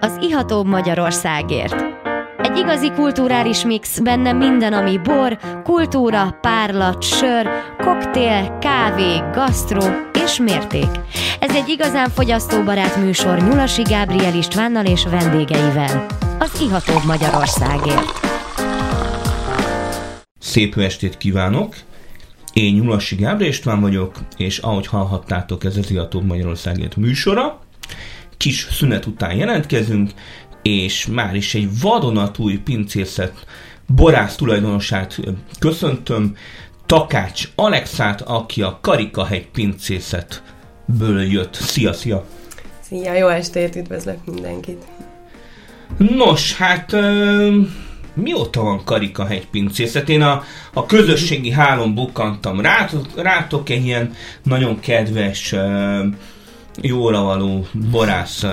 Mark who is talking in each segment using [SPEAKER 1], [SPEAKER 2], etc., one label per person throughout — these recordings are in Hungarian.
[SPEAKER 1] az Iható Magyarországért. Egy igazi kulturális mix, benne minden, ami bor, kultúra, párlat, sör, koktél, kávé, gasztró és mérték. Ez egy igazán fogyasztóbarát műsor Nyulasi Gábriel Istvánnal és vendégeivel. Az Iható Magyarországért.
[SPEAKER 2] Szép jó estét kívánok! Én Nyulasi Gábor István vagyok, és ahogy hallhattátok, ez az Iatóbb Magyarországért műsora. Kis szünet után jelentkezünk, és már is egy vadonatúj pincészet borász tulajdonosát köszöntöm, Takács Alexát, aki a Karikahegy pincészetből jött. Szia, szia!
[SPEAKER 3] Szia, jó estét, üdvözlök mindenkit!
[SPEAKER 2] Nos, hát... Ö- mióta van karikahegy pincészet? Én a, a közösségi hálón bukkantam rátok, rátok egy ilyen nagyon kedves, jóra való borász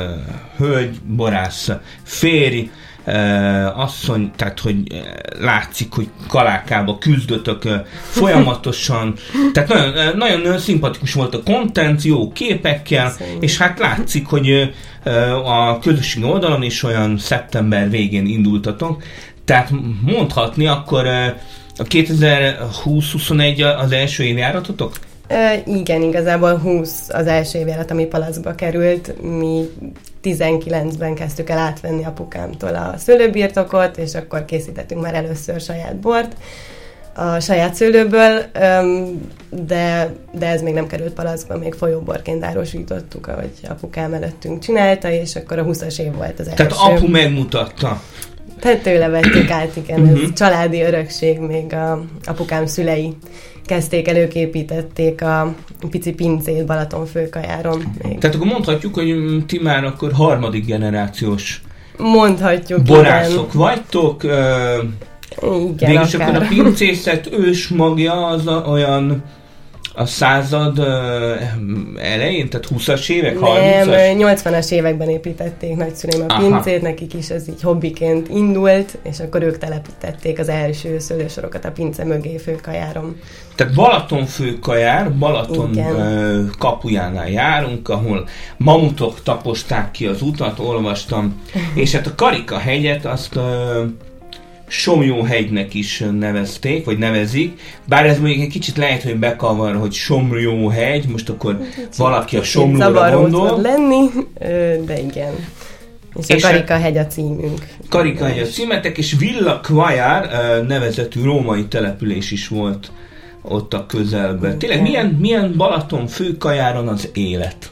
[SPEAKER 2] hölgy, borász férj, asszony, tehát hogy látszik, hogy kalákába küzdötök folyamatosan. tehát nagyon, nagyon szimpatikus volt a kontent, jó képekkel, Szerintem. és hát látszik, hogy a közösségi oldalon is olyan szeptember végén indultatok, tehát mondhatni akkor a 2020-21 az első évjáratotok?
[SPEAKER 3] E, igen, igazából 20 az első évjárat, ami palacba került. Mi 19-ben kezdtük el átvenni apukámtól a szőlőbirtokot, és akkor készítettünk már először saját bort a saját szőlőből, de, de ez még nem került palacba, még folyóborként árusítottuk, ahogy apukám előttünk csinálta, és akkor a 20-as év volt az első.
[SPEAKER 2] Tehát apu megmutatta.
[SPEAKER 3] Tehát tőle vették át, igen,
[SPEAKER 2] Mhm.
[SPEAKER 3] ez uh-huh. családi örökség, még a apukám szülei kezdték el, ők építették a pici pincét Balaton főkajáron.
[SPEAKER 2] Még. Tehát akkor mondhatjuk, hogy ti már akkor harmadik generációs
[SPEAKER 3] Mondhatjuk,
[SPEAKER 2] borászok igen. vagytok, ö-
[SPEAKER 3] igen,
[SPEAKER 2] Végülis akár. akkor a pincészet ős magja az a, olyan a század uh, elején, tehát 20-as évek, 30-as?
[SPEAKER 3] Nem, 80-as években építették nagyszüleim a Aha. pincét, nekik is ez így hobbiként indult, és akkor ők telepítették az első szőlősorokat a pince mögé főkajáron.
[SPEAKER 2] Tehát Balaton főkajár, Balaton Igen. kapujánál járunk, ahol mamutok taposták ki az utat, olvastam, és hát a Karika hegyet azt uh, Somjóhegynek is nevezték, vagy nevezik, bár ez még egy kicsit lehet, hogy bekavar, hogy Somjóhegy, most akkor kicsit valaki a Somlóra gondol.
[SPEAKER 3] lenni, de igen. És, és a Karika hegy a címünk.
[SPEAKER 2] Karika hegy a címetek, és Villa Quajár nevezetű római település is volt ott a közelben. Tényleg milyen, milyen Balaton főkajáron az élet?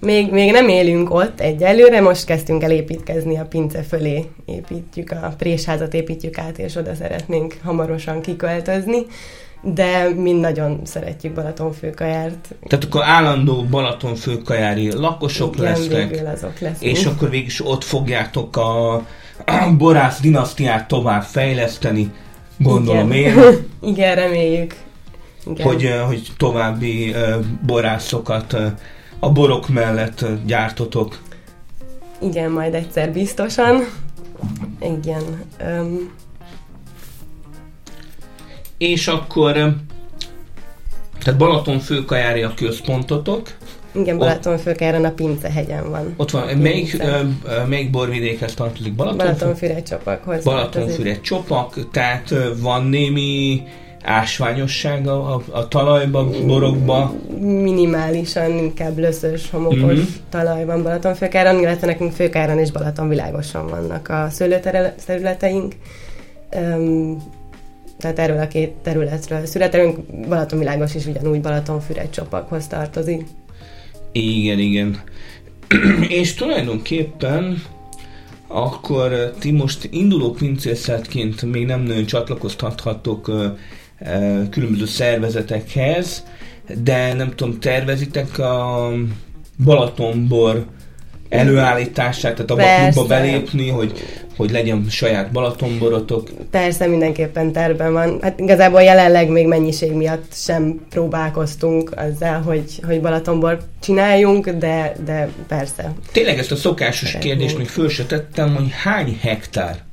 [SPEAKER 3] Még, még nem élünk ott egyelőre, most kezdtünk el építkezni a pince fölé, építjük a présházat, építjük át, és oda szeretnénk hamarosan kiköltözni, de mi nagyon szeretjük Balatonfőkajárt.
[SPEAKER 2] Tehát akkor állandó Balatonfőkajári lakosok
[SPEAKER 3] Igen,
[SPEAKER 2] lesznek,
[SPEAKER 3] azok lesznek,
[SPEAKER 2] és akkor végig is ott fogjátok a, a borász dinasztiát tovább fejleszteni, gondolom
[SPEAKER 3] Igen. én. Igen, reméljük.
[SPEAKER 2] Igen. Hogy, hogy további borászokat a borok mellett gyártotok.
[SPEAKER 3] Igen, majd egyszer biztosan. Igen. Um.
[SPEAKER 2] És akkor, tehát Balaton főkajári a központotok.
[SPEAKER 3] Igen, Balaton főkáron a Pincehegyen van.
[SPEAKER 2] Ott van. Melyik, ö, melyik borvidékhez tartozik? Balaton
[SPEAKER 3] Balatonfüred csopakhoz.
[SPEAKER 2] Balatonfüred csopak, tehát van némi ásványosság a, a, a talajba, borokba?
[SPEAKER 3] Minimálisan, inkább löszös, homokos mm-hmm. talaj van Balatonfőkáron, illetve nekünk Főkáron és Balaton világosan vannak a szőlőterületeink. Um, tehát erről a két területről születelünk, Balatonvilágos is ugyanúgy Balatonfüred csopakhoz tartozik.
[SPEAKER 2] Igen, igen. és tulajdonképpen akkor eh, ti most induló pincészetként még nem nagyon csatlakoztathattok ö, ö, különböző szervezetekhez, de nem tudom, tervezitek a Balatonbor előállítását, tehát abba a klubba belépni, hogy, hogy legyen saját Balatonborotok?
[SPEAKER 3] Persze, mindenképpen terben van. Hát igazából jelenleg még mennyiség miatt sem próbálkoztunk azzal, hogy, hogy Balatonbort csináljunk, de, de persze.
[SPEAKER 2] Tényleg ezt a szokásos Szeretnénk. kérdést még föl se tettem, hogy hány hektár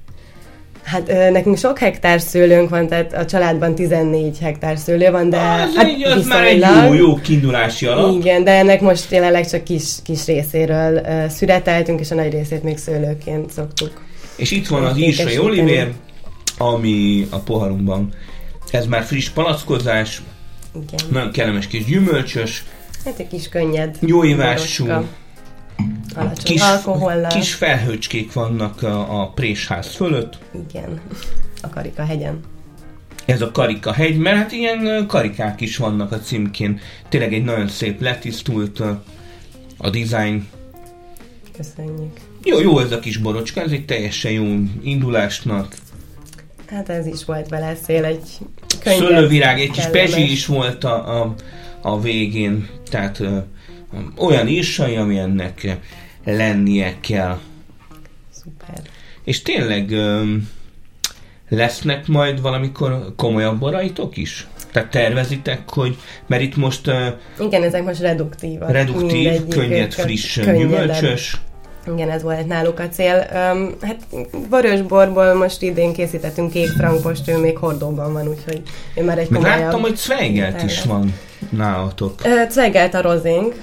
[SPEAKER 3] Hát ö, nekünk sok hektár szőlőnk van, tehát a családban 14 hektár szőlő van, de
[SPEAKER 2] az,
[SPEAKER 3] hát
[SPEAKER 2] így, az már egy
[SPEAKER 3] viszonylag-
[SPEAKER 2] jó, jó kiindulási alap.
[SPEAKER 3] Igen, de ennek most jelenleg csak kis, kis részéről ö, szüreteltünk, és a nagy részét még szőlőként szoktuk.
[SPEAKER 2] És itt van az
[SPEAKER 3] Ékesíteni.
[SPEAKER 2] írsai olivér, ami a poharunkban. Ez már friss palackozás,
[SPEAKER 3] Igen.
[SPEAKER 2] nagyon kellemes kis gyümölcsös,
[SPEAKER 3] Hát egy kis könnyed.
[SPEAKER 2] jó ivású,
[SPEAKER 3] boroska, Alacsony
[SPEAKER 2] kis,
[SPEAKER 3] kis, alkohollal.
[SPEAKER 2] kis
[SPEAKER 3] Kis...
[SPEAKER 2] felhőcskék vannak a, a présház fölött.
[SPEAKER 3] Igen. A Karika hegyen.
[SPEAKER 2] Ez a Karika hegy, mert hát ilyen ö, karikák is vannak a címkén. Tényleg egy nagyon szép letisztult ö, a design.
[SPEAKER 3] Köszönjük.
[SPEAKER 2] Jó, jó ez a kis borocska, ez egy teljesen jó indulásnak.
[SPEAKER 3] Hát ez is volt vele szél, egy könnyed.
[SPEAKER 2] Szőlővirág, egy kis
[SPEAKER 3] kellemes.
[SPEAKER 2] pezsi is volt a, a, a végén, tehát ö, olyan írsai, ami ennek ö, lennie kell.
[SPEAKER 3] Szuper.
[SPEAKER 2] És tényleg ö, lesznek majd valamikor komolyabb boraitok is? Tehát tervezitek, hogy, mert itt most ö,
[SPEAKER 3] Igen, ezek most reduktívak.
[SPEAKER 2] reduktív,
[SPEAKER 3] Mindegyik,
[SPEAKER 2] könnyed,
[SPEAKER 3] ö,
[SPEAKER 2] friss,
[SPEAKER 3] könnyedebb.
[SPEAKER 2] gyümölcsös.
[SPEAKER 3] Igen, ez volt náluk a cél. Um, hát vörösborból most idén készítettünk kék frankpost, ő még hordóban van, úgyhogy ő már egy
[SPEAKER 2] Meg
[SPEAKER 3] komolyabb.
[SPEAKER 2] láttam, hogy Zweigelt is
[SPEAKER 3] Tényleg.
[SPEAKER 2] van nálatok.
[SPEAKER 3] Ö, Cvegelt a rozénk,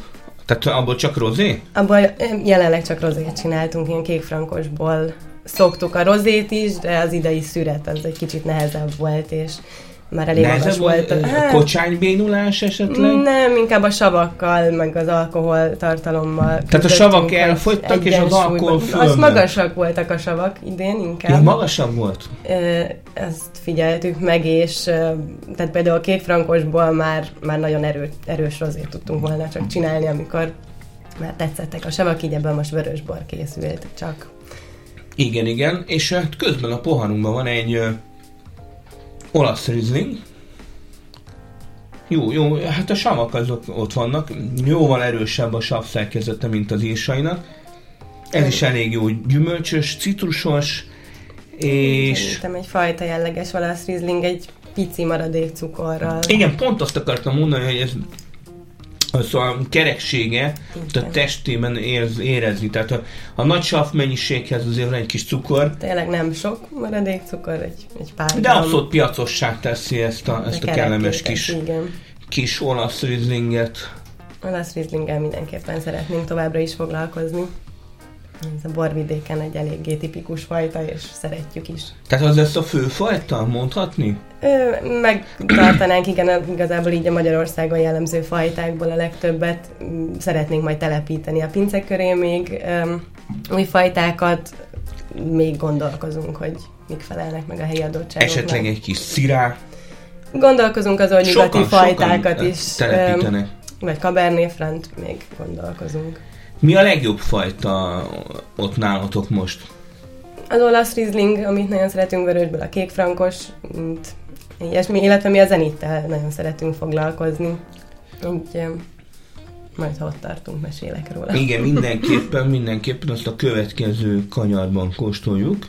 [SPEAKER 2] Tehát abból csak rozé?
[SPEAKER 3] abból ö, jelenleg csak rozét csináltunk, ilyen kék frankosból szoktuk a rozét is, de az idei szüret az egy kicsit nehezebb volt, és már elég magas
[SPEAKER 2] Nehezebb
[SPEAKER 3] volt.
[SPEAKER 2] volt ö,
[SPEAKER 3] Hát,
[SPEAKER 2] kocsánybénulás esetleg?
[SPEAKER 3] nem, inkább a savakkal, meg az alkohol tartalommal.
[SPEAKER 2] a
[SPEAKER 3] küzdöttünk,
[SPEAKER 2] savak
[SPEAKER 3] hogy
[SPEAKER 2] elfogytak, és az
[SPEAKER 3] egyensúlyban-
[SPEAKER 2] alkohol
[SPEAKER 3] Az
[SPEAKER 2] fölment.
[SPEAKER 3] magasak voltak a savak idén inkább.
[SPEAKER 2] Ja, magasabb volt.
[SPEAKER 3] Ö, ezt figyeltük meg, és ö, tehát például a kék frankosból már, már nagyon erő, erős rozét tudtunk volna csak csinálni, amikor már tetszettek a savak, így ebből most vörösbor készült csak.
[SPEAKER 2] Igen, igen, és hát közben a poharunkban van egy ö, olasz rizling. Jó, jó, hát a savak azok ott vannak, jóval erősebb a sav szerkezete, mint az írsainak. Ez is elég jó, gyümölcsös, citrusos, és...
[SPEAKER 3] Szerintem egy fajta jelleges olasz rizling egy pici maradék cukorral.
[SPEAKER 2] Igen, pont azt akartam mondani, hogy ez az a kereksége ott a
[SPEAKER 3] Igen.
[SPEAKER 2] testében érz, érezni. Tehát a, a nagy sav mennyiséghez azért van egy kis cukor,
[SPEAKER 3] Tényleg nem sok maradék cukor, egy, egy pár
[SPEAKER 2] de
[SPEAKER 3] gram.
[SPEAKER 2] abszolút piacossá teszi ezt a, ezt a
[SPEAKER 3] De
[SPEAKER 2] kellemes
[SPEAKER 3] kerekítés,
[SPEAKER 2] kis
[SPEAKER 3] Igen.
[SPEAKER 2] kis olasz rizlinget.
[SPEAKER 3] Olasz rizlinggel mindenképpen szeretnénk továbbra is foglalkozni. Ez a borvidéken egy eléggé tipikus fajta, és szeretjük is.
[SPEAKER 2] Tehát az lesz a főfajta, mondhatni?
[SPEAKER 3] Ö, Megtartanánk igen, igazából így a Magyarországon jellemző fajtákból a legtöbbet. Mm, Szeretnénk majd telepíteni a pince köré még öm, új fajtákat. Még gondolkozunk, hogy mik felelnek meg a helyi adottságoknak.
[SPEAKER 2] Esetleg egy kis szirá.
[SPEAKER 3] Gondolkozunk az nyugati
[SPEAKER 2] Sokan,
[SPEAKER 3] fajtákat
[SPEAKER 2] sokan
[SPEAKER 3] is. öm,
[SPEAKER 2] telepítenek.
[SPEAKER 3] Vagy Cabernet Franc, még gondolkozunk.
[SPEAKER 2] Mi a legjobb fajta ott nálatok most?
[SPEAKER 3] Az olasz rizling, amit nagyon szeretünk vörösből, a kék frankos, mint ilyesmi, illetve mi a zenittel nagyon szeretünk foglalkozni. Így em, majd ha ott tartunk, mesélek róla.
[SPEAKER 2] Igen, mindenképpen, mindenképpen azt a következő kanyarban kóstoljuk.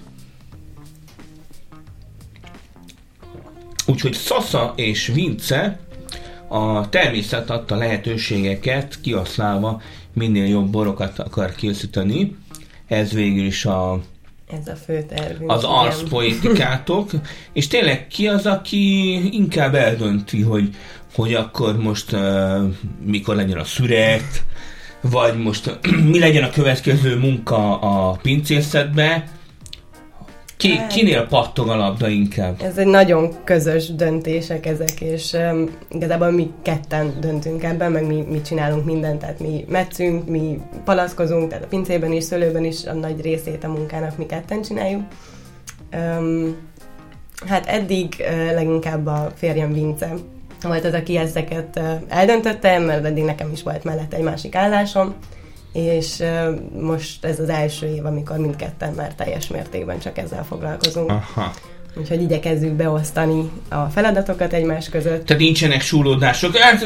[SPEAKER 2] Úgyhogy Sasa és Vince a természet adta lehetőségeket kihasználva minél jobb borokat akar készíteni. Ez végül is a
[SPEAKER 3] Ez a fő tervünk.
[SPEAKER 2] az
[SPEAKER 3] igen.
[SPEAKER 2] arszpoétikátok, és tényleg ki az, aki inkább eldönti, hogy, hogy akkor most uh, mikor legyen a szüret, vagy most mi legyen a következő munka a pincészetbe, ki, kinél pattog a labda inkább?
[SPEAKER 3] Ez egy nagyon közös döntések ezek, és um, igazából mi ketten döntünk ebben, meg mi, mi csinálunk mindent, tehát mi metszünk, mi palaszkozunk, tehát a pincében is, szőlőben is a nagy részét a munkának mi ketten csináljuk. Um, hát eddig uh, leginkább a férjem Vince volt az, aki ezeket uh, eldöntötte, mert eddig nekem is volt mellette egy másik állásom, és uh, most ez az első év, amikor mindketten már teljes mértékben csak ezzel foglalkozunk.
[SPEAKER 2] Aha.
[SPEAKER 3] Úgyhogy igyekezzük beosztani a feladatokat egymás között.
[SPEAKER 2] Tehát nincsenek súlódások. Hát,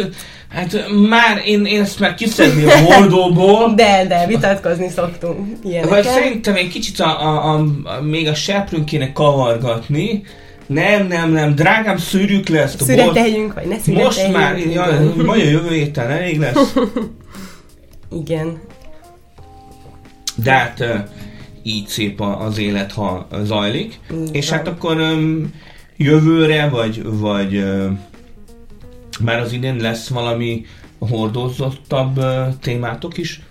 [SPEAKER 2] hát már én, én ezt már kiszedném a holdóból.
[SPEAKER 3] De, de, vitatkozni szoktunk
[SPEAKER 2] Vagy
[SPEAKER 3] ilyenekkel.
[SPEAKER 2] szerintem egy kicsit a, a, a, a, még a seprőn kéne kavargatni. Nem, nem, nem, drágám, szűrjük le ezt a bort.
[SPEAKER 3] Szüreteljünk, vagy ne
[SPEAKER 2] Most
[SPEAKER 3] szüreteljünk.
[SPEAKER 2] már, ja, majd a jövő héten elég lesz.
[SPEAKER 3] Igen.
[SPEAKER 2] De hát ö, így szép a- az élet, ha zajlik. És hát akkor öm, jövőre, vagy, vagy öm, már az idén lesz valami hordózottabb ö, témátok is?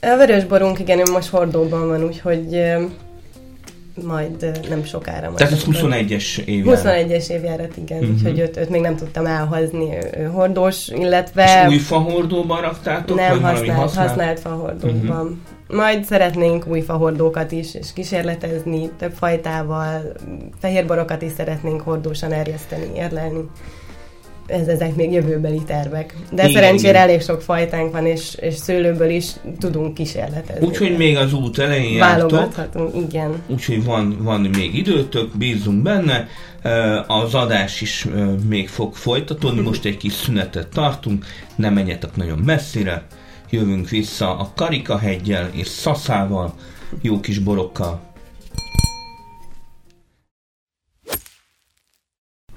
[SPEAKER 3] A vörösborunk, igen, ő most hordóban van, úgyhogy ö, majd ö, nem sokára. Majd
[SPEAKER 2] Tehát ez
[SPEAKER 3] akkor.
[SPEAKER 2] 21-es év.
[SPEAKER 3] 21-es évjárat, igen, uh-huh. úgyhogy őt, őt még nem tudtam elhozni, ő, ő hordós, illetve
[SPEAKER 2] És új fahordóban raktátok?
[SPEAKER 3] nem
[SPEAKER 2] vagy valami
[SPEAKER 3] használt,
[SPEAKER 2] használt?
[SPEAKER 3] használt fahordókban. Uh-huh. Majd szeretnénk új fahordókat is, és kísérletezni több fajtával, fehérborokat is szeretnénk hordósan erjeszteni, érlelni. Ez, ezek még jövőbeli tervek. De
[SPEAKER 2] Igen,
[SPEAKER 3] igen, szerencsére
[SPEAKER 2] igen.
[SPEAKER 3] igen. elég sok fajtánk van, és, és szőlőből is tudunk kísérletezni.
[SPEAKER 2] Úgyhogy még az út elején jártok.
[SPEAKER 3] Válogathatunk, igen.
[SPEAKER 2] úgyhogy van, van még időtök, bízunk benne, Ö, az adás is ö, még fog folytatódni, most egy kis szünetet tartunk, ne menjetek nagyon messzire, jövünk vissza a Karikahegyel és Szaszával, jó kis borokkal.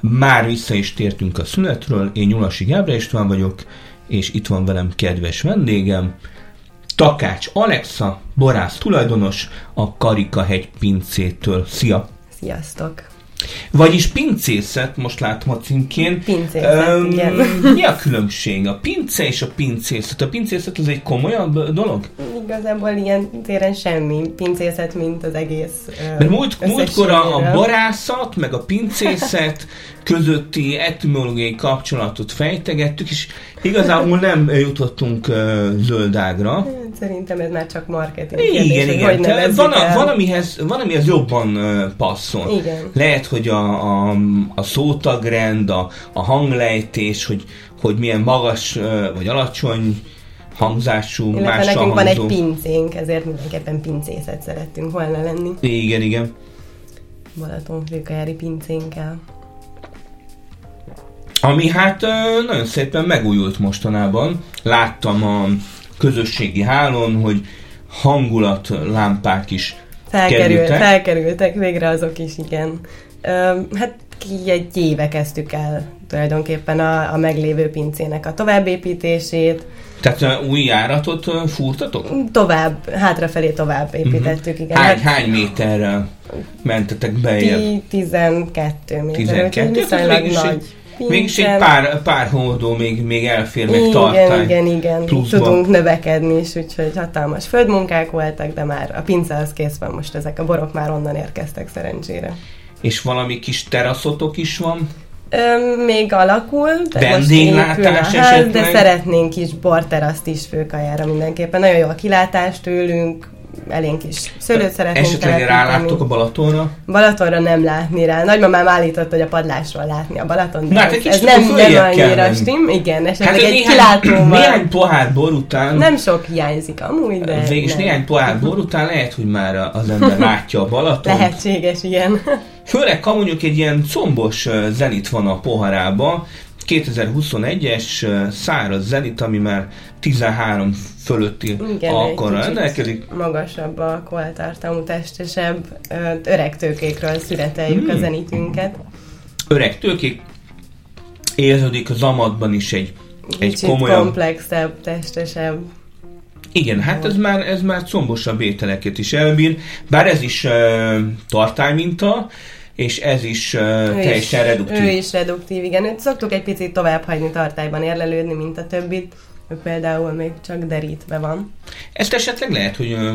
[SPEAKER 2] Már vissza is tértünk a szünetről, én Nyulasi Gábor István vagyok, és itt van velem kedves vendégem, Takács Alexa, borász tulajdonos a Karikahegy pincétől. Szia!
[SPEAKER 3] Sziasztok!
[SPEAKER 2] Vagyis pincészet, most látom a címkén.
[SPEAKER 3] Pincészet,
[SPEAKER 2] Öm,
[SPEAKER 3] igen.
[SPEAKER 2] Mi a különbség? A pince és a pincészet. A pincészet az egy komolyabb dolog?
[SPEAKER 3] Igazából ilyen téren semmi pincészet, mint az egész. ö,
[SPEAKER 2] Mert múlt, múltkor a, a
[SPEAKER 3] összességéről.
[SPEAKER 2] barászat, meg a pincészet közötti etimológiai kapcsolatot fejtegettük, és igazából nem jutottunk ö, zöldágra.
[SPEAKER 3] Szerintem ez már csak marketing. kérdés,
[SPEAKER 2] Igen,
[SPEAKER 3] hogy
[SPEAKER 2] igen.
[SPEAKER 3] Hogy
[SPEAKER 2] Te-
[SPEAKER 3] nevezzük
[SPEAKER 2] Van, a,
[SPEAKER 3] el.
[SPEAKER 2] van, amihez, van, amihez jobban ö, passzol.
[SPEAKER 3] Igen.
[SPEAKER 2] Lehet, hogy a, a, a szótagrend, a, a hanglejtés, hogy, hogy milyen magas ö, vagy alacsony hangzású,
[SPEAKER 3] Illetve
[SPEAKER 2] mással
[SPEAKER 3] nekünk van egy
[SPEAKER 2] hangzó.
[SPEAKER 3] pincénk, ezért mindenképpen pincészet szerettünk volna lenni.
[SPEAKER 2] Igen, igen.
[SPEAKER 3] Balatonfőkajári pincénkkel.
[SPEAKER 2] Ami hát ö, nagyon szépen megújult mostanában. Láttam a közösségi hálón, hogy hangulatlámpák is
[SPEAKER 3] Felkerült,
[SPEAKER 2] kerültek.
[SPEAKER 3] felkerültek végre azok is, igen. Ö, hát ki egy éve kezdtük el tulajdonképpen a, a meglévő pincének a továbbépítését,
[SPEAKER 2] Tehát ö, új járatot ö, fúrtatok?
[SPEAKER 3] tovább, hátrafelé tovább építettük, igen.
[SPEAKER 2] Mhm. Hány,
[SPEAKER 3] Hát
[SPEAKER 2] hány méterrel mentetek beljebb?
[SPEAKER 3] ti 12 méter, úgyhogy
[SPEAKER 2] 12, tehát
[SPEAKER 3] viszonylag
[SPEAKER 2] Hát mégis
[SPEAKER 3] nagy.
[SPEAKER 2] egy, mégis egy
[SPEAKER 3] pincen.
[SPEAKER 2] pár, pár hordó még, még elfér, még
[SPEAKER 3] igen,
[SPEAKER 2] tartály.
[SPEAKER 3] igen, igen,
[SPEAKER 2] pluszba.
[SPEAKER 3] tudunk növekedni is, úgyhogy hatalmas földmunkák voltak, de már a pince az kész van most, ezek a borok már onnan érkeztek szerencsére.
[SPEAKER 2] És valami kis teraszotok is van.
[SPEAKER 3] Öm, még alakul, de most épül a
[SPEAKER 2] Vendéglátás
[SPEAKER 3] ház, de
[SPEAKER 2] esetleg?
[SPEAKER 3] szeretnénk is borteraszt is főkajára mindenképpen. Nagyon jó a kilátás tőlünk, elénk is szőlőt szeretnénk
[SPEAKER 2] Esetleg
[SPEAKER 3] telepíteni.
[SPEAKER 2] ráláttok a Balatonra.
[SPEAKER 3] Balatonra nem látni rá. Nagymamám állított, hogy a padlásról látni a Balaton.
[SPEAKER 2] Na, hát egy
[SPEAKER 3] ez, ez
[SPEAKER 2] kicsit
[SPEAKER 3] nem,
[SPEAKER 2] följebb
[SPEAKER 3] nem
[SPEAKER 2] kell
[SPEAKER 3] annyira
[SPEAKER 2] menni.
[SPEAKER 3] stim, igen, esetleg
[SPEAKER 2] Hát
[SPEAKER 3] hát
[SPEAKER 2] ez
[SPEAKER 3] egy
[SPEAKER 2] néhány, néhány
[SPEAKER 3] kilátóval.
[SPEAKER 2] pohár bor után, nem,
[SPEAKER 3] Nem sok hiányzik amúgy, de
[SPEAKER 2] végig
[SPEAKER 3] nem.
[SPEAKER 2] néhány pohár bor után lehet, hogy már az ember látja a Balatont.
[SPEAKER 3] Lehetséges, igen.
[SPEAKER 2] Főleg, ha mondjuk egy ilyen combos ö, zenit van a poharába, 2021-es ö, száraz zenit, ami már 13 fölötti
[SPEAKER 3] igen
[SPEAKER 2] alkorra
[SPEAKER 3] egy kicsit
[SPEAKER 2] rendelkezik.
[SPEAKER 3] Magasabb a koltartalmú, testesebb, ö, öreg tőkékről szüreteljük
[SPEAKER 2] Hmm.
[SPEAKER 3] a zenitünket.
[SPEAKER 2] öreg tőkék, érződik az amatban is egy, egy
[SPEAKER 3] Kicsit
[SPEAKER 2] komolyabb...
[SPEAKER 3] komplexebb, testesebb.
[SPEAKER 2] Igen, hát ez már, ez már combosabb ételeket is elbír, bár ez is uh, tartályminta, és ez is uh,
[SPEAKER 3] Ő
[SPEAKER 2] teljesen
[SPEAKER 3] is,
[SPEAKER 2] reduktív.
[SPEAKER 3] Ő is reduktív, igen. Őt szoktuk egy picit tovább hagyni tartályban érlelődni, mint a többit. Ő például még csak derítve van.
[SPEAKER 2] Ezt esetleg lehet, hogy uh,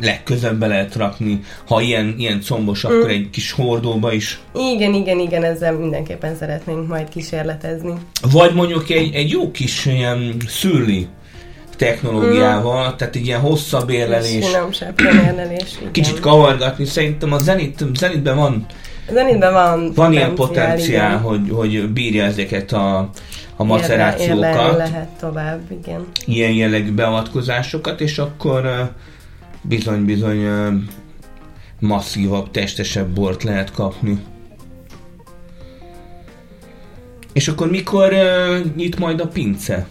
[SPEAKER 2] legközebb be lehet rakni, ha ilyen, ilyen combos,
[SPEAKER 3] Mm.
[SPEAKER 2] akkor egy kis hordóba is.
[SPEAKER 3] Igen, igen, igen, ezzel mindenképpen szeretnénk majd kísérletezni.
[SPEAKER 2] Vagy mondjuk egy, egy jó kis ilyen szürli technológiával, tehát egy ilyen hosszabb
[SPEAKER 3] És
[SPEAKER 2] érlelés,
[SPEAKER 3] Mm. finom sepkén érlelés. igen.
[SPEAKER 2] kicsit kavargatni, szerintem a zenit, zenitben van
[SPEAKER 3] A zenitben van
[SPEAKER 2] Van ilyen
[SPEAKER 3] igen.
[SPEAKER 2] potenciál, hogy, hogy bírja ezeket a, a
[SPEAKER 3] Érle- érlelni
[SPEAKER 2] macerációkat,
[SPEAKER 3] lehet tovább, igen.
[SPEAKER 2] ilyen jellegű beavatkozásokat, és akkor bizony-bizony masszívabb, testesebb bort lehet kapni. És akkor mikor ö, nyit majd a pince?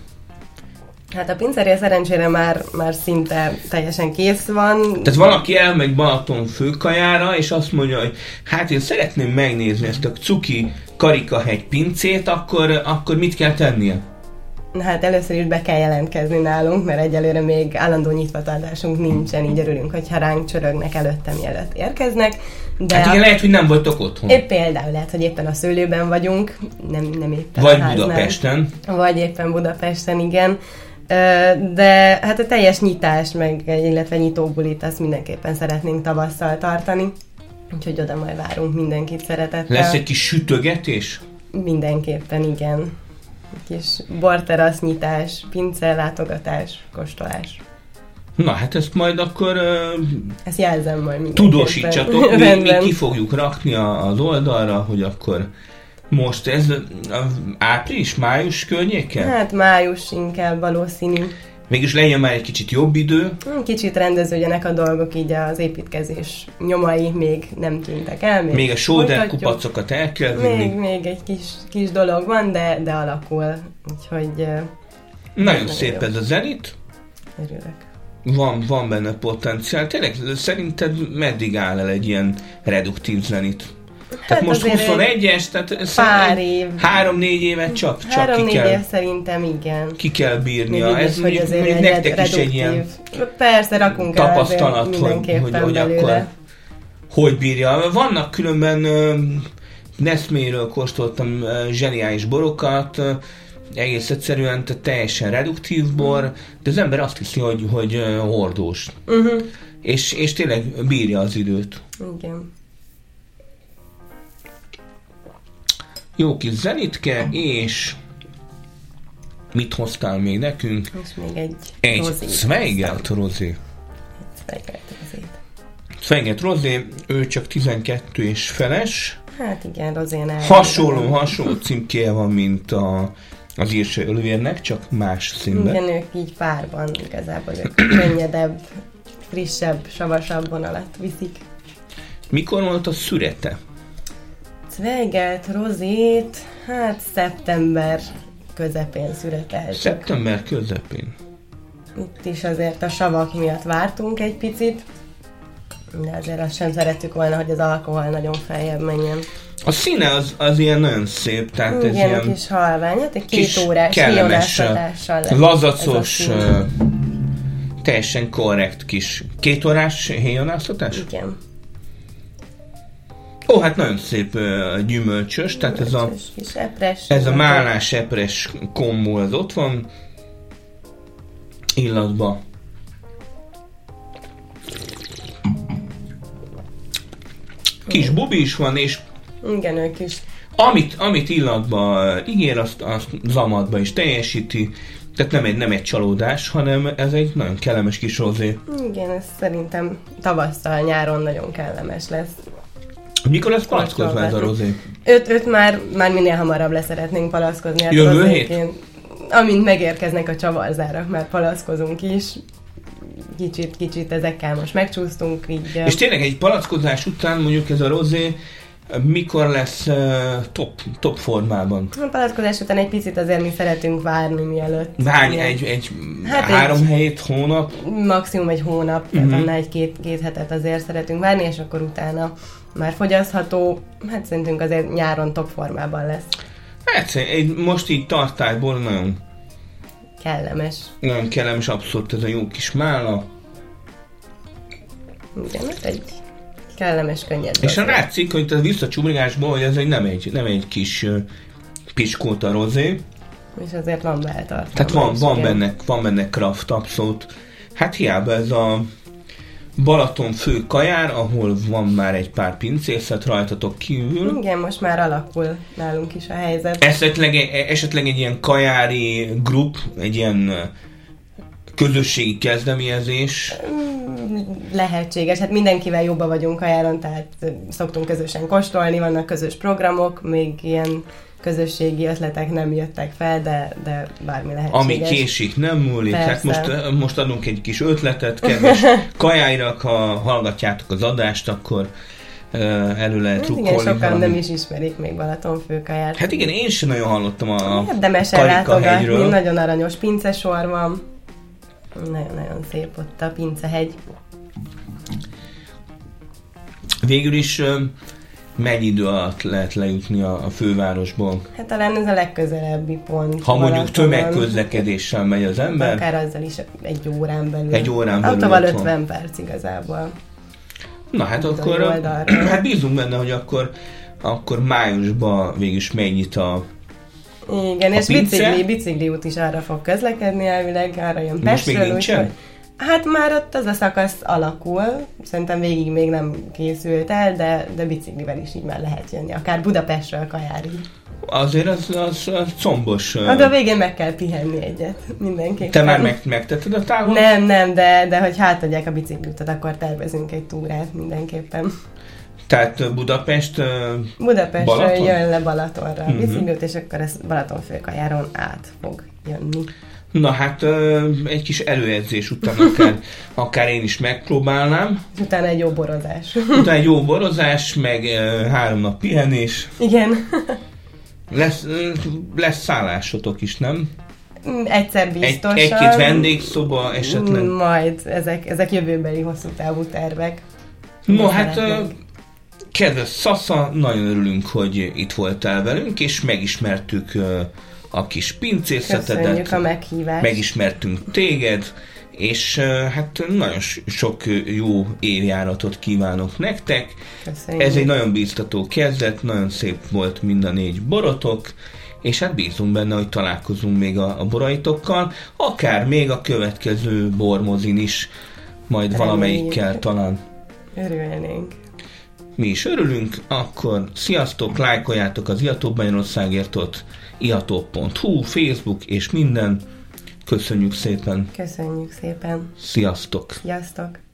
[SPEAKER 3] Hát a pincérje szerencsére már, már szinte teljesen kész van.
[SPEAKER 2] Tehát valaki elmegy Balaton főkajára, és azt mondja, hogy hát én szeretném megnézni ezt a cuki karikahegy pincét, akkor, akkor mit kell tennie?
[SPEAKER 3] Hát először is be kell jelentkezni nálunk, mert egyelőre még állandó nyitvatartásunk nincsen, így örülünk, hogyha ránk csörögnek előtte, mielőtt érkeznek. De
[SPEAKER 2] Hát
[SPEAKER 3] a-
[SPEAKER 2] igen, lehet, hogy nem voltok otthon.
[SPEAKER 3] Épp például lehet, hogy éppen a szőlőben vagyunk, nem, nem éppen a
[SPEAKER 2] Vagy
[SPEAKER 3] háznál.
[SPEAKER 2] Budapesten.
[SPEAKER 3] Vagy éppen Budapesten, igen. Ö, De hát a teljes nyitás, meg, illetve nyitóbulit, azt mindenképpen szeretnénk tavasszal tartani. Úgyhogy oda majd várunk mindenkit szeretettel.
[SPEAKER 2] Lesz egy kis sütögetés?
[SPEAKER 3] Mindenképpen, igen. Kis borterasz nyitás, pince látogatás, kóstolás.
[SPEAKER 2] Na hát ezt majd akkor ö,
[SPEAKER 3] Ezt jelzem majd mindenképpen.
[SPEAKER 2] tudósítsatok, mi, mi
[SPEAKER 3] Rendben.
[SPEAKER 2] ki fogjuk rakni a, az oldalra, hogy akkor most ez ö, április, május környéke?
[SPEAKER 3] Hát május inkább valószínű.
[SPEAKER 2] Mégis legyen már egy kicsit jobb idő.
[SPEAKER 3] Kicsit rendeződjenek a dolgok, így az építkezés nyomai még nem tűntek el. Még,
[SPEAKER 2] Még a sóder
[SPEAKER 3] folytatjuk.
[SPEAKER 2] kupacokat el kell
[SPEAKER 3] Még,
[SPEAKER 2] vinni.
[SPEAKER 3] még egy kis, kis dolog van, de, de alakul. Úgyhogy ö,
[SPEAKER 2] Nagyon
[SPEAKER 3] Nagyon
[SPEAKER 2] szép
[SPEAKER 3] jó.
[SPEAKER 2] ez a zenit.
[SPEAKER 3] örülök.
[SPEAKER 2] Van, van benne potenciál. Tényleg, szerinted meddig áll el egy ilyen reduktív zenit? Tehát most
[SPEAKER 3] Hát azért egy
[SPEAKER 2] 21-es, tehát
[SPEAKER 3] Pár
[SPEAKER 2] szerintem
[SPEAKER 3] év.
[SPEAKER 2] 3-4 évet csak, csak ki
[SPEAKER 3] Három-négy
[SPEAKER 2] kell.
[SPEAKER 3] év szerintem igen.
[SPEAKER 2] ki kell bírnia.
[SPEAKER 3] Mindig
[SPEAKER 2] ez
[SPEAKER 3] is,
[SPEAKER 2] mondjuk, mondjuk
[SPEAKER 3] red-
[SPEAKER 2] nektek is egy ilyen
[SPEAKER 3] Persze, rakunk el azért
[SPEAKER 2] tapasztalat, hogy,
[SPEAKER 3] mindenképpen
[SPEAKER 2] hogy, hogy akkor
[SPEAKER 3] belőle.
[SPEAKER 2] hogy bírja. Vannak különben ö, Neszméről kóstoltam ö, zseniális borokat, ö, egész egyszerűen tehát teljesen reduktív bor, de az ember azt hiszi, hogy, hogy ö, hordós.
[SPEAKER 3] Uh-huh.
[SPEAKER 2] És, és tényleg bírja az időt.
[SPEAKER 3] Igen.
[SPEAKER 2] Jó kis zenitke, és mit hoztál még nekünk?
[SPEAKER 3] És még egy,
[SPEAKER 2] Egy
[SPEAKER 3] rozét.
[SPEAKER 2] Zweigelt rozé.
[SPEAKER 3] Zweigelt rozét.
[SPEAKER 2] Szengett Rozé, ő csak 12 és feles.
[SPEAKER 3] Hát igen, rozén el.
[SPEAKER 2] Hasonló, hasonló címkéje van, mint a, az írse ölvérnek, csak más színben.
[SPEAKER 3] Igen, ők így párban igazából ők könnyedebb, frissebb, savasabb vonalat viszik.
[SPEAKER 2] Mikor volt a szürete?
[SPEAKER 3] Zweigelt, rozét, hát szeptember közepén születeltük.
[SPEAKER 2] Szeptember közepén.
[SPEAKER 3] Itt is azért a savak miatt vártunk egy picit, de azért azt sem szerettük volna, hogy az alkohol nagyon feljebb menjen.
[SPEAKER 2] A színe az, az ilyen nagyon szép, tehát Hát ez
[SPEAKER 3] Igen,
[SPEAKER 2] ilyen
[SPEAKER 3] kis halvány, hát egy
[SPEAKER 2] kis
[SPEAKER 3] két órás
[SPEAKER 2] kellemes,
[SPEAKER 3] híjolásatással lett
[SPEAKER 2] lazacos,
[SPEAKER 3] ez a szín.
[SPEAKER 2] ö, teljesen korrekt kis kétórás héjonáztatás?
[SPEAKER 3] Igen.
[SPEAKER 2] Ó, hát nagyon szép ö, gyümölcsös, tehát ez a,
[SPEAKER 3] Kis- Kis epres.
[SPEAKER 2] Ez a málás epres kombó, ez ott van. Illatba. Kis bubi is van, és
[SPEAKER 3] Igen, ők is.
[SPEAKER 2] amit, amit illatba ö, ígér, azt, azt zamatba is teljesíti. Tehát nem egy, nem egy csalódás, hanem ez egy nagyon kellemes kis rozé.
[SPEAKER 3] Igen, ez szerintem tavasszal, nyáron nagyon kellemes lesz.
[SPEAKER 2] Mikor lesz palackozva ez a rozé?
[SPEAKER 3] Öt, öt már, már minél hamarabb leszeretnénk palaszkozni. hát
[SPEAKER 2] Jövő
[SPEAKER 3] az
[SPEAKER 2] hét?
[SPEAKER 3] végén, Amint megérkeznek a csavarzárak, már palaszkozunk is. Kicsit, kicsit ezekkel most megcsúsztunk, így... ö,
[SPEAKER 2] És tényleg egy palackozás után mondjuk ez a rozé ö, mikor lesz ö, top, top formában?
[SPEAKER 3] A palackozás után egy picit azért mi szeretünk várni mielőtt.
[SPEAKER 2] Hány,
[SPEAKER 3] Ilyen
[SPEAKER 2] egy, egy hát
[SPEAKER 3] Hát
[SPEAKER 2] három egy...
[SPEAKER 3] egy-
[SPEAKER 2] hét, hónap?
[SPEAKER 3] Maximum egy hónap, tehát
[SPEAKER 2] Mhm.
[SPEAKER 3] annál egy-két két hetet azért szeretünk várni, és akkor utána már fogyasztható, hát szerintünk azért nyáron top formában lesz.
[SPEAKER 2] Hát egy, most így tartályból nagyon,
[SPEAKER 3] Kellemes.
[SPEAKER 2] nagyon kellemes, abszolút ez a jó kis mála.
[SPEAKER 3] Igen, hát egy kellemes, könnyed.
[SPEAKER 2] És
[SPEAKER 3] dolog.
[SPEAKER 2] látszik, hogy itt a visszacsúrgásból, hogy ez egy nem egy, nem egy kis ö, piskóta rozé.
[SPEAKER 3] és azért van beltartalma.
[SPEAKER 2] Tehát van,
[SPEAKER 3] is,
[SPEAKER 2] van,
[SPEAKER 3] igen.
[SPEAKER 2] benne, van benne kraft abszolút. Hát hiába ez a Balaton fő kajár, ahol van már egy pár pincészet rajtatok kívül.
[SPEAKER 3] Igen, most már alakul nálunk is a helyzet.
[SPEAKER 2] Esetleg, esetleg egy ilyen kajári grup, egy ilyen ö, közösségi kezdeményezés.
[SPEAKER 3] Lehetséges, hát mindenkivel jobban vagyunk a járon, tehát ö, szoktunk közösen kóstolni, vannak közös programok, még ilyen közösségi ötletek nem jöttek fel, de, de bármi lehetséges.
[SPEAKER 2] Ami késik, nem múlik. Hát
[SPEAKER 3] Persze.
[SPEAKER 2] most, ö, most adunk egy kis ötletet, kedves kajáirak, ha hallgatjátok az adást, akkor ö, elő lehet
[SPEAKER 3] Hát igen,
[SPEAKER 2] trukkolni.
[SPEAKER 3] sokan
[SPEAKER 2] valami.
[SPEAKER 3] nem is ismerik még Balatonfőkaját.
[SPEAKER 2] Hát igen, én sem nagyon hallottam a a
[SPEAKER 3] Érdemes ellátogatni,
[SPEAKER 2] Karikahegyről.
[SPEAKER 3] nagyon aranyos pincesor van. Nagyon-nagyon szép ott a pincehegy.
[SPEAKER 2] Végül is ö, mennyi idő alatt lehet lejutni a, a fővárosból?
[SPEAKER 3] Hát talán ez a legközelebbi pont.
[SPEAKER 2] Ha mondjuk
[SPEAKER 3] Balaton.
[SPEAKER 2] tömegközlekedéssel megy az ember,
[SPEAKER 3] Akár azzal is egy órán belül.
[SPEAKER 2] Egy órán belül
[SPEAKER 3] Autóval
[SPEAKER 2] ott van.
[SPEAKER 3] 50 perc igazából.
[SPEAKER 2] na hát
[SPEAKER 3] az
[SPEAKER 2] akkor,
[SPEAKER 3] oldalra.
[SPEAKER 2] hát bízunk benne, hogy akkor, akkor májusban végig is megnyit a,
[SPEAKER 3] Igen,
[SPEAKER 2] A
[SPEAKER 3] és
[SPEAKER 2] pince?
[SPEAKER 3] bicikli, bicikliút is arra fog közlekedni elvileg, arra jön
[SPEAKER 2] Most még
[SPEAKER 3] Pestről,
[SPEAKER 2] nincsen?
[SPEAKER 3] úgyhogy- Hát már ott az a szakasz alakul, szerintem végig még nem készült el, de, de biciklivel is így már lehet jönni, akár Budapestről Kajárig.
[SPEAKER 2] azért az, az, az combos. ö,
[SPEAKER 3] Na, Hát de a végén meg kell pihenni egyet, mindenképpen.
[SPEAKER 2] Te már meg, megtetted a távol?
[SPEAKER 3] Nem, nem, de, de hogy hátadják a bicikliutat, akkor tervezünk egy túrát mindenképpen.
[SPEAKER 2] Tehát ö, Budapest, ö,
[SPEAKER 3] Budapestről
[SPEAKER 2] Balaton?
[SPEAKER 3] Balaton? jön le Balatonra a
[SPEAKER 2] Mhm.
[SPEAKER 3] bicikliút, és akkor ez Balaton főkajáron át fog jönni.
[SPEAKER 2] na hát ö, egy kis előedzés után akár, akár én is megpróbálnám.
[SPEAKER 3] És utána egy jó borozás.
[SPEAKER 2] Utána egy jó borozás, meg ö, három nap pihenés.
[SPEAKER 3] Igen.
[SPEAKER 2] Lesz, ö, lesz szállásotok is, nem?
[SPEAKER 3] Egyszer
[SPEAKER 2] Egy,
[SPEAKER 3] biztosan.
[SPEAKER 2] egy-két vendégszoba esetleg.
[SPEAKER 3] Mm, Majd, ezek, ezek jövőbeli hosszú távú tervek.
[SPEAKER 2] No,
[SPEAKER 3] Mit
[SPEAKER 2] hát ö,
[SPEAKER 3] szeretnénk?
[SPEAKER 2] kedves Sasa, nagyon örülünk, hogy itt voltál velünk, és megismertük ö, a kis
[SPEAKER 3] Köszönjük a
[SPEAKER 2] pincészetedet,
[SPEAKER 3] meghívást.
[SPEAKER 2] megismertünk téged, és ö, hát nagyon s- sok ö, jó évjáratot kívánok nektek.
[SPEAKER 3] Köszönjük.
[SPEAKER 2] Ez egy nagyon bíztató kezdet, nagyon szép volt mind a négy borotok, és hát bízunk benne, hogy találkozunk még a, a boraitokkal, akár még a következő bormozin is, majd
[SPEAKER 3] Reméljük.
[SPEAKER 2] valamelyikkel talán
[SPEAKER 3] Örülnénk.
[SPEAKER 2] mi is örülünk, akkor sziasztok, lájkoljátok az Iatóbb Magyarországértot, iatóbb.hu, Facebook és minden. Köszönjük szépen,
[SPEAKER 3] Köszönjük szépen.
[SPEAKER 2] sziasztok!
[SPEAKER 3] Sziasztok!